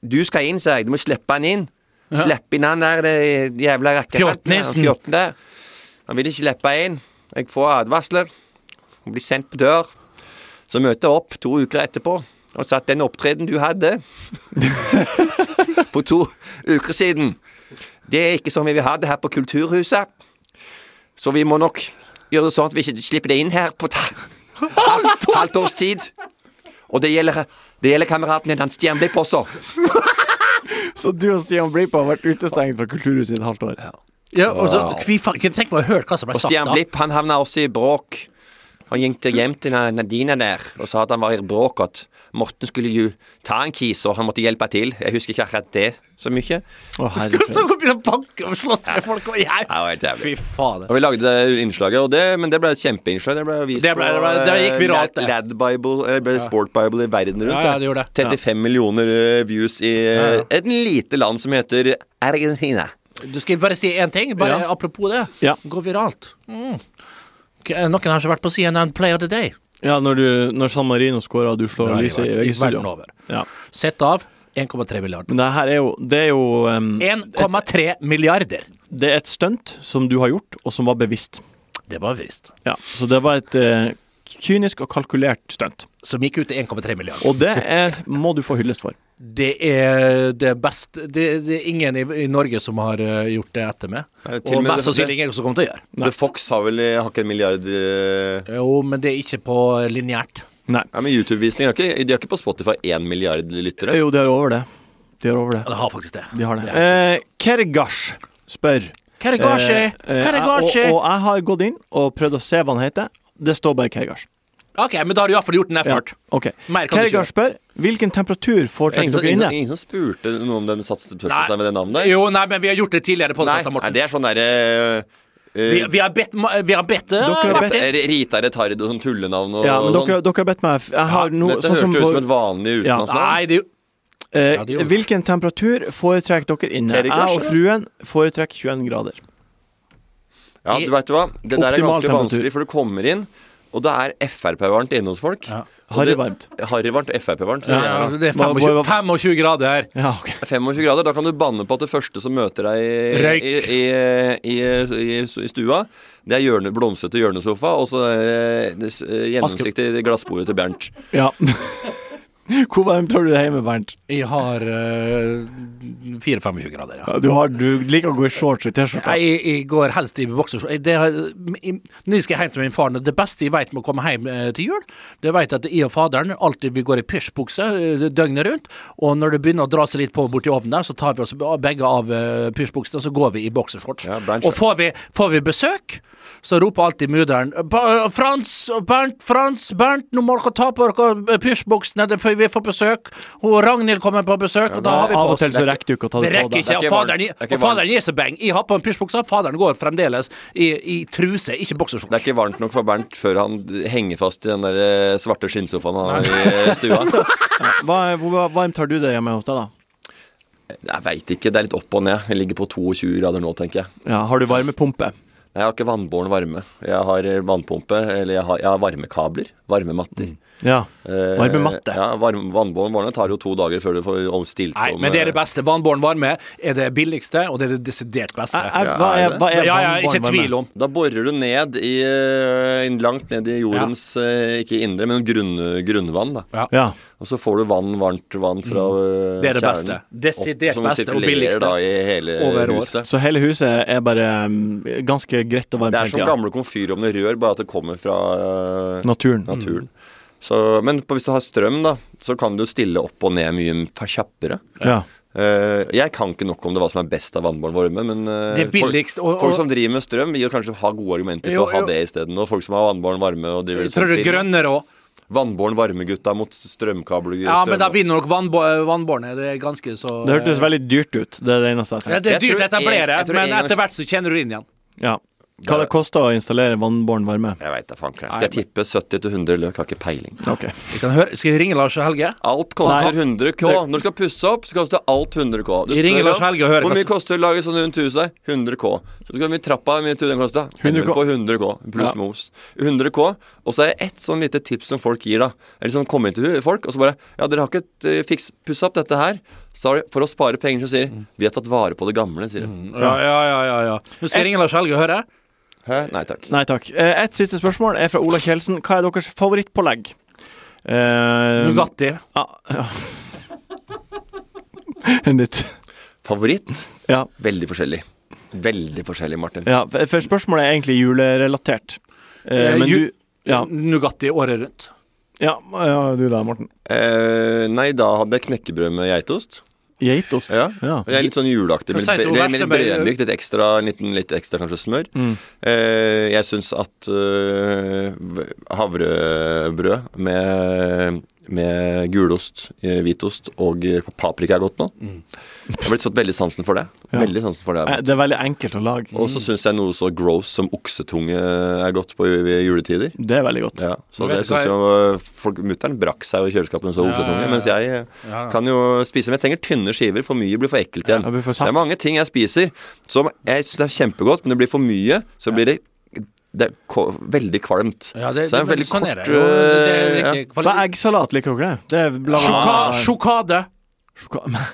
Du skal inn, sier jeg. Du må slippe han inn. Ja. Slipp inn han der det jævla rakkefanten. han Fjottnesen. Fjotten der. Han vil ikke slippe inn. Jeg får advarsler. Han blir sendt på dør. Så møter jeg opp to uker etterpå og sa at den opptredenen du hadde for to uker siden, det er ikke sånn vi vil ha det her på Kulturhuset. Så vi må nok gjøre det sånn at vi ikke slipper det inn her på et halvt, halvt års tid. Og det gjelder, det gjelder kameraten din, han Stian Blipp også. Så du og Stian Blipp har vært utestengt fra Kulturhuset i et halvt år. Ja, og så, vi fa- kunne tenkt meg å høre hva som ble Og sagt Stian da. Blipp han havna også i bråk. Han gikk til hjem til Nadina der og sa at han var i bråk, at Morten skulle jo ta en kis, og han måtte hjelpe til. Jeg husker ikke akkurat det så mye. Skal så begynne å banke og slåss med folk og jeg var helt jævlig. Fy fader. Og vi lagde det innslaget, og det, men det ble et kjempeinnslag. Det ble vist Det ble- det ble- det gikk eh, viralt, Lad, det. Lad Bible, eh, ble Sport Bible i verden rundt. Ja, ja, det gjorde det. 35 millioner eh, views i eh, Ja, ja. et lite land som heter Argentina. Du skal bare si én ting, bare apropos det. Ja. Gå viralt. Mm. K- Noen har ikke vært på CNN Play of the Day. Ja, når, du, når San Marino scorer og du slår Ja, i lyset i verden- i verden VG-studio. over. Ja. Sett av 1,3 milliarder. Men det her er jo Det er jo em, 1,3 milliarder. Det er et stunt som du har gjort, og som var bevisst. Det var visst. Ja, Så det var et eh, kynisk og kalkulert stunt. Som gikk ut til 1,3 milliarder. Og det er, må du få hyllest for. Det er det beste Det, det er ingen i, i Norge som har eh, gjort det etter meg. Eh, til Og og med mest det- sannsynlig ingen som kommer til å gjøre. The Fox har vel eh, har ikke en milliard eh, Jo, men det er ikke på lineært. Ja, men YouTube-visninger har ikke, de har ikke på Spotify én milliard lyttere. Jo, de har over det. De har over det. Ja, det har faktisk det. De har det. Eh, Kergash spør. Eh, Kergashi! Kergashi! og, og jeg har gått inn og prøvd å se hva han heter. Det står bare Kergash. OK, men da har du iallfall gjort en effort. Ok. Mer kan du ikke Kergash spør hvilken temperatur Ingen, foretrekker som- dere ingen, inne? ingen som spurte noe om den satset spørsmålstegn ved det navnet der? Jo, nei, men vi har gjort det tidligere på Nei, nei, det er sånn derre Vi, vi har bedt ma- Vi har bedt eh, Martin. Rita Retard og sånn tullenavn og Ja, men sånn. dere, dere har bedt meg jeg har no, Dette sånn hørtes som ut på- som et vanlig Ja. utenlandsnavn. Nei, det er jo Eh, det gjorde det. hvilken temperatur foretrekker dere inne? Kergash, Jeg og eller? fruen foretrekker 21 grader. Ja, du vet du hva? Det der er Optimal ganske temperatur. vanskelig, for du kommer inn, og Og det er Frp-varmt inne hos folk. Ja. Harryvarmt. Harryvarmt og Frp-varmt. Ja, ja, det er 25, 25 grader. Ja, 25 grader, Da kan du banne på at det første som møter deg i, Røyk. i, i, i, i, i stua, det er hjørne, blomstrete hjørnesofa og så eh, det s- eh, gjennomsiktig glassbordet til Bernt. Ja. Hvor varmt har du det hjemme, Bernt? Jeg har eh, 4-25 grader, ja. Ja, Du, har, du liker å gå i shorts og T-skjorte. Jeg, jeg- jeg går helst i boksershorts. Det har- jeg- Når jeg skal hjem til min far Det beste jeg vet med å komme hjem eh, til jul, det vet at jeg og faderen alltid vi går i pysjbukse eh, døgnet rundt. Og når det begynner å dra seg litt på borti ovnen, der, så tar vi oss begge av eh, pysjbuksene, og så går vi i boksershorts. og får vi, får vi besøk, så roper alltid mudder'n Frans, Bernt, Frans, Bernt, nå må dere ta på dere pysjbuksene, det- for vi får besøk. Og Ragnhild kommer på besøk, og da har vi på Av og oss til så dette. rekker du ikke å ta det på Det rekker deg. ikke. Og faderen, og faderen gir seg beng. Jeg har på en pysjbukse, faderen går fremdeles i, i truse, ikke boksershorts. Det er ikke varmt nok for Bernt før han henger fast i den der eh, svarte skinnsofaen han har i eh, stua. Ja, Hva, hvor varmt har du det hjemme hos deg, da? Jeg veit ikke. Det er litt opp og ned. Jeg ligger på 22 grader nå, tenker jeg. Ja, har du varmepumpe? Nei, Jeg har ikke vannbåren varme. Jeg har eh, vannpumpe, eller jeg har, jeg har varmekabler. Varmematter. Ja. Eh, Varmematte. Ja, varm, vannbåren varme tar jo to dager før du får omstilt Nei, men det eh, er det beste. Vannbåren varme er det billigste, og det er det desidert beste. ja, ja, ikke tvil om. Da borer du ned i, eh, inn- langt ned i jordens eh, Ikke indre, men grunn, grunnvann. Da. Ja. Og så får du vann, varmt vann fra eh, Mm. Det er det kjernen beste. opp, Desidert som beste og sirkulerer billigste. Da, i hele Over år. huset. Så hele huset er bare um, ganske greit Sånn og varmt? Det er som hele tiden. gamle komfyrovner rør, bare at det kommer fra eh, Naturen. naturen. Så, men på, hvis du har strøm, da, så kan du stille opp og ned mye fa- kjappere. Ja. Eh, jeg kan ikke nok om det hva som er best av vannbåren varme, men eh, Det er billigst, folk, og- og- folk som driver med strøm, vil jo kanskje ha gode argumenter Jo, for å ha jo. det isteden. Og folk som har vannbåren varme og driver sånn Jeg tror det er grønnere òg. Vannbåren varme-gutta mot strømkabler. Ja, men da strøm- vinner nok vannbå vannbårene. Det er ganske så Det hørtes veldig dyrt ut. Det er det eneste jeg tenker. ja, Det er dyrt å etablere, jeg tror en men gang- etter hvert så kjenner du det inn igjen. Ja. Hva det koster å installere vannbåren varme? Jeg veit da faen. Christ. Skal jeg tippe 70-100 løk? Har ikke peiling. Ok. Vi kan høre. Skal jeg ringe Lars og Helge? Alt koster Nei. 100 K. Når du skal pusse opp, så koster alt 100 K. Du Vi ringer spør Lars om, Helge og hører Hvor hva mye som- koster å lage sånn rundt huset? 100 K. Så du skal mye trappa, hvor mye tur den koster? 100 K. På 100 K, pluss Ja. moms. 100 K. Og så er det ett sånn lite tips som folk gir, da. Eller som kommer inn til hu- folk, og så bare Ja, dere har ikke eh, fiks, pussa opp dette her. Så har de, for å spare penger, så Mm. sier de Vi har tatt vare på det gamle, sier de. Ja, ja, ja. ja, ja. Nå Eh, skal jeg ringe Lars og Helge og høre. Hæ? Nei takk. Nei takk. Eh, Et siste spørsmål er fra Ola Kjeldsen. Hva er deres favorittpålegg? Eh, Nugatti. Ja, ja. Enn ditt. Favoritt? Ja. Veldig forskjellig. Veldig forskjellig, Martin. ja, for spørsmålet er egentlig julerelatert. Eh, Eh, men ju- du ja. Nugatti året rundt. Ja, ja, du da, Morten. Eh, nei, da hadde jeg knekkebrød med geitost. Geitost. Ja. Ja. Jeg er litt sånn juleaktig, Hva men sier så litt, verste litt med- brennmykt. Litt ekstra, en liten, litt ekstra kanskje smør. Mm. Eh, jeg syns at eh, v- havrebrød med, med gulost, eh, hvitost og eh, paprika er godt nå. Mm. Jeg har blitt fått veldig sansen for det. Ja. Veldig sansen for det. Eh, er godt. Det er veldig enkelt å lage. Og så syns jeg noe så gross som oksetunge er godt på i- i juletider. Det er veldig godt. Ja, så Men vet det du hva synes jeg folk, Mutteren brakk seg jo i kjøleskapet så Ja, oksetunge, ja, ja. mens jeg Ja, ja. kan jo spise Men jeg trenger tynne skiver, for mye blir for ekkelt igjen. Ja, det blir for det saft. er mange ting jeg spiser som jeg syns er kjempegodt, men det blir for mye, så blir det, det er ko- veldig kvalmt. Ja, det, så det er en veldig sånn kort er det. Jo, det er øh, riktig. Hva er eggsalat? Liker dere det? det er laget- Sjoka- Sjokade. Sjoka-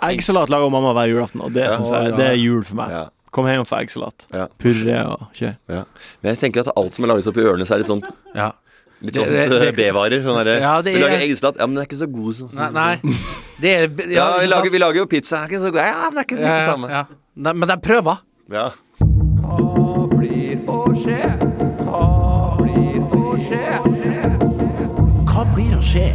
Eggsalat lager mamma hver julaften, og det Ja. synes jeg det er jul for meg. Ja. Kom hjem og få eggsalat. Ja. Purre og kjør. ja. Men jeg tenker at alt som er laget opp i ørene, så er litt sånn Ja. Litt Det- sånn det- det- øh, B-varer. Sånn derre Ja, det Vi er- lager eggesalat. Ja, men den er ikke så god som Nei, nei. Det er ja, vi, ikke sant? lager, vi lager jo pizza. Den Er ikke så god. Ja, men det er ikke Ja, ikke ja, det samme. ja. Nei, men de prøver. Ja. Hva blir å skje? Hva blir å skje? Hva blir å skje?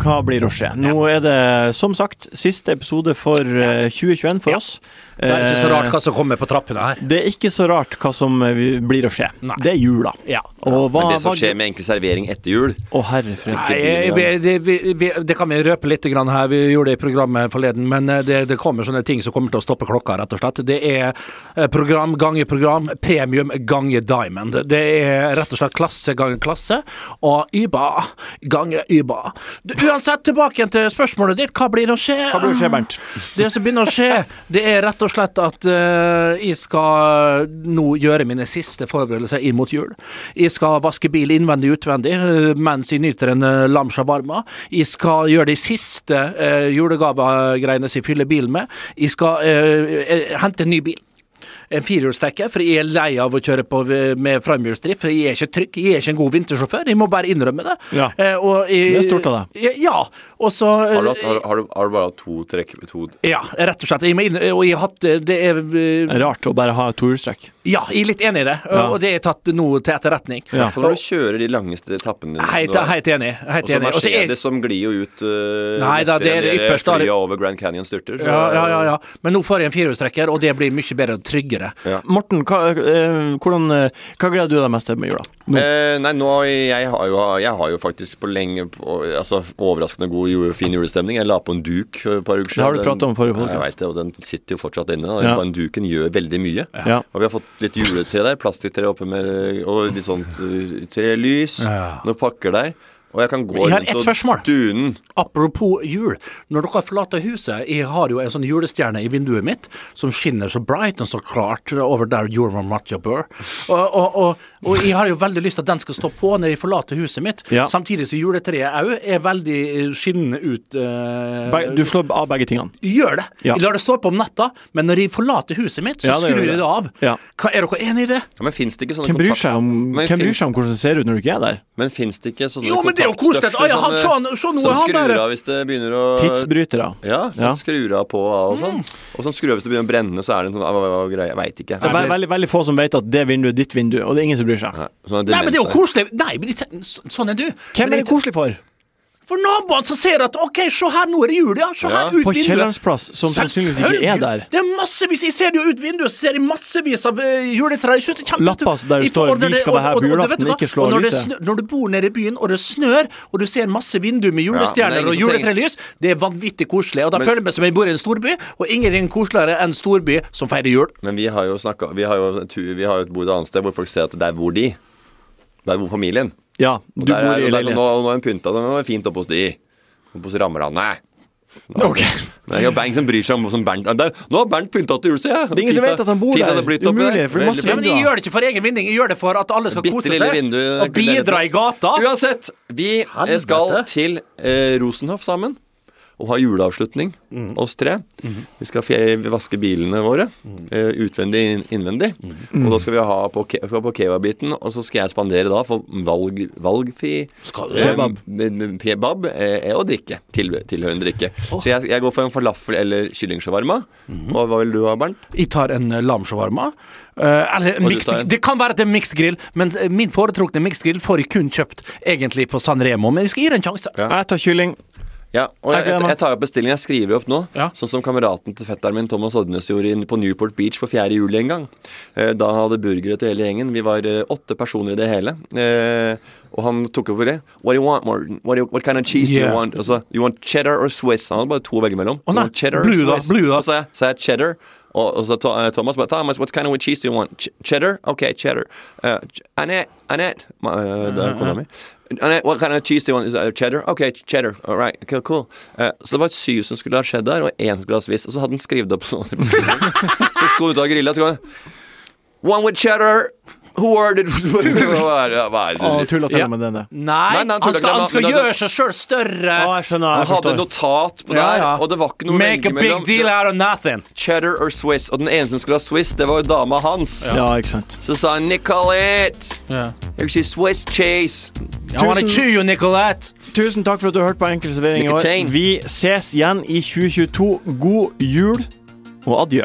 Hva blir å skje? Nå er det som sagt siste episode for eh, 2021 for oss. Det er ikke så rart Eh, hva som kommer på trappene her. det er ikke så rart hva som eh, vi- blir å skje. Nei. Det er jula. Ja. Og hva Men det som hva- skjer med enkel servering etter jul Å, herre fred. Nei, jeg- vi, det, vi, vi, det kan vi røpe litt grann her, vi gjorde det i programmet forleden. Men eh, det, det kommer sånne ting som kommer til å stoppe klokka, rett og slett. Det er eh, program ganger program, premium ganger diamond. Det er rett og slett klasse ganger klasse, og Yba ganger Yba. Du, Uansett, tilbake igjen til spørsmålet ditt. Hva blir å skje? Hva blir å skje, Bernt? Det som begynner å skje, det er rett og slett at eh, jeg skal nå gjøre mine siste forberedelser inn mot jul. Jeg Jeg skal vaske bil innvendig og utvendig eh, mens jeg nyter en eh, lam shawarma. Jeg skal gjøre de siste eh, julegavegreiene som jeg fyller bilen med. Jeg skal eh, eh, hente en ny bil. En firehjulstrekker, for jeg er lei av å kjøre på ved- med framhjulsdrift. For jeg er ikke trygg, jeg er ikke en god vintersjåfør. Jeg må bare innrømme det. Ja. Eh, og jeg- Det er stort av Ja. Og så eh, Har du, hatt, har, har, du, har du bare hatt to trekk med to Ja, rett og slett. Jeg må inn- og jeg har hatt eh, Det er eh, Rart å bare ha tohjulstrekk. Ja, jeg er litt enig i det, Ja. og det er tatt nå til etterretning. I hvert fall når du kjører de langeste etappene dine. Helt- Du har- helt enig, helt Og så enig. Og så er- Mercedes som glir jo ut uh, Nei da, det er det ypperste, da. Flyet over Grand Canyon styrter. så- eh, Ja, ja, ja, ja. Men nå får jeg en firehjulstrekker, og det blir mye bedre og tryggere. Morten, hva, eh, hvordan, eh, hva gleder du deg mest til med jula? Eh, nei, nå jeg har, jo, jeg har jo faktisk på lenge på, altså, overraskende god jule, fin julestemning. Jeg la på en duk for et par uker Det siden. har du pratet om i forrige Den- podcast. Jeg vet det, og den sitter jo fortsatt inne. Og Ja. den duken gjør veldig mye. Ja. Og vi har fått litt juletre der, plastikktre oppe med og litt sånt eh, trelys, Ja. noen pakker der. Og jeg kan gå Jeg har rundt ett og spørsmål. Dunen. Apropos jul. Når dere forlater huset Jeg har jo en sånn julestjerne i vinduet mitt som skinner så bright og så klart over der jorda Martja bør. Og, og, og, og jeg har jo veldig lyst til at den skal stå på når jeg forlater huset mitt. Ja. Samtidig som juletreet òg er veldig skinnende ut. eh, Be- Du slår av begge tingene. Gjør det. Ja. Jeg lar det stå på om natta, men når jeg forlater huset mitt, så Ja, det gjør skrur det. jeg det av. Ja. Hva, er dere enig i det? Ja, men fins det ikke sånne Hvem bryr kontakt... seg om, Men hvem bryr finnes- seg om hvordan det ser ut når du ikke er der? Men fins det ikke sånne Jo, men det er jo koselig at- kontaktstøfter Ai, han- som, eh, se han- se nå, som han skrur der. av hvis det begynner å Tidsbrytere. Eh, Ja, som Ja. Mm. skrur av på og sånn. Og som skrur av hvis det begynner å brenne, så er det en sånn ah, ah, ah, greie. Jeg veit ikke. Det er bare veldig, veldig få som vet at det vinduet er ditt vindu, og det er ingen som bryr seg. Sånn Nei, men det er jo koselig. Nei, men jeg ten- så- sånn er du. Hvem Men er jeg det koselig for? For naboene som ser at OK, se her, nå er det jul, ja. Se her, ut På vinduet. kjellerens plass, som sannsynligvis ikke er der. Det er massevis, Jeg ser det jo ut vinduet, så ser jeg massevis av eh, juletrær. Jeg synes det er kjempe- Lapper der det Jeg står, får- og når «Vi det- skal være her og- på og- og- julaften, vet du hva? ikke slå Og når det lyset». snø- Når du bor nede i byen, og det snør, og du ser masse vinduer med julestjerner Ja, men og det er ingen som juletrelys, det er vanvittig koselig. Og da Men- føler jeg meg som jeg bor i en storby, og ingenting er koseligere enn storby som feirer jul. Men vi har jo snakka Vi har jo, en tur- vi har jo et bord et annet sted hvor folk ser at der bor de. Der bor familien. Ja, Og du der bor i er, og der, sånn, nå, leilighet. nå er hun pynta, nå er det fint oppe hos de. Oppe hos Ramrane. Men det er jo Bernt som bryr seg om som Bernt der, Nå har Bernt pynta til jul, sier jeg! Det er ingen som Fint, vet at han bor fint der. det er blitt oppi Umulig, der. for det er masse Veldig Ja, men Jeg gjør det ikke for egen vinning, jeg gjør det for at alle skal kose Bitte lille seg vindu. og bidra i gata. Uansett, vi eh, Helvete. skal til eh, Rosenhoff sammen og ha juleavslutning, Mm. oss tre. Vi skal fje- vaske bilene våre, Mm. eh, utvendig inn- innvendig. Og da skal vi ha på, ke- på kebab-biten, og så skal jeg spandere da for valg, valgfri Skal eh, Kebab. m- m- kebab eh, og drikke. Til, tilhørende drikke. Så jeg, jeg går for en falafel eller kyllingshawarma. Mm. Og hva vil du ha, Bernt? Jeg tar en eh, lam shawarma. Eh, eller en Og du mixed, tar en? det kan være at det er mixed grill, men eh, min foretrukne mixed grill får jeg kun kjøpt egentlig på San Remo. Men jeg skal gi det en sjanse. Jeg tar kylling. Ja, og Jeg jeg, gleder jeg, meg. jeg tar opp bestillingen. Jeg skriver opp nå. Ja. Sånn som kameraten til fetteren min Thomas Odnes gjorde inn på Newport Beach på 4. juli en gang. Eh, Da han hadde burgere til hele gjengen. Vi var eh, åtte personer i det hele. Eh, Og han tok opp det. What do you want, Morten? What, do you, what kind of cheese do Yeah. you want? Og så, you want cheddar or Swiss? Han hadde bare to å velge mellom. Å You nei, want cheddar or blue da, Swiss? blue da. Og så sa jeg, sa jeg cheddar. Og, og så ta- eh, Thomas bare Thomas, what kind of cheese do you want? Ch cheddar? Ok, cheddar. Uh, ch Annette, Annette Ma- eh, Det er kona mi. Annette, what kind of cheese do you want? Is that cheddar? Ok, cheddar. All right, cool. cool. Eh, så det var syv som skulle ha cheddar, og én som skulle ha sviss. Og så hadde han skrevet opp sånn. så sto han ute av grilla, så kom han One with cheddar. Who ordered Hva er det? Hva er det? Å, tulla til Ja. med denne. Nei, Nei, nei, han, tuller ikke, skal, men- han skal men- gjøre seg sjøl større. Å, jeg skjønner. Han Jeg hadde forstår. notat på det Ja, her, ja. og det var ikke noe Make a velge big mellom. deal Det- out of nothing. Cheddar or Swiss. Og den eneste som skulle ha Swiss, det var jo dama hans. Ja, ikke sant. Så sa han Nicolette! Jeg vil si Swiss cheese. I wanna Tusen- chew you, Nicolette. Tusen takk for at du hørte på Enkel servering i Lykke år. til. Vi ses igjen i 2022. God jul og adjø.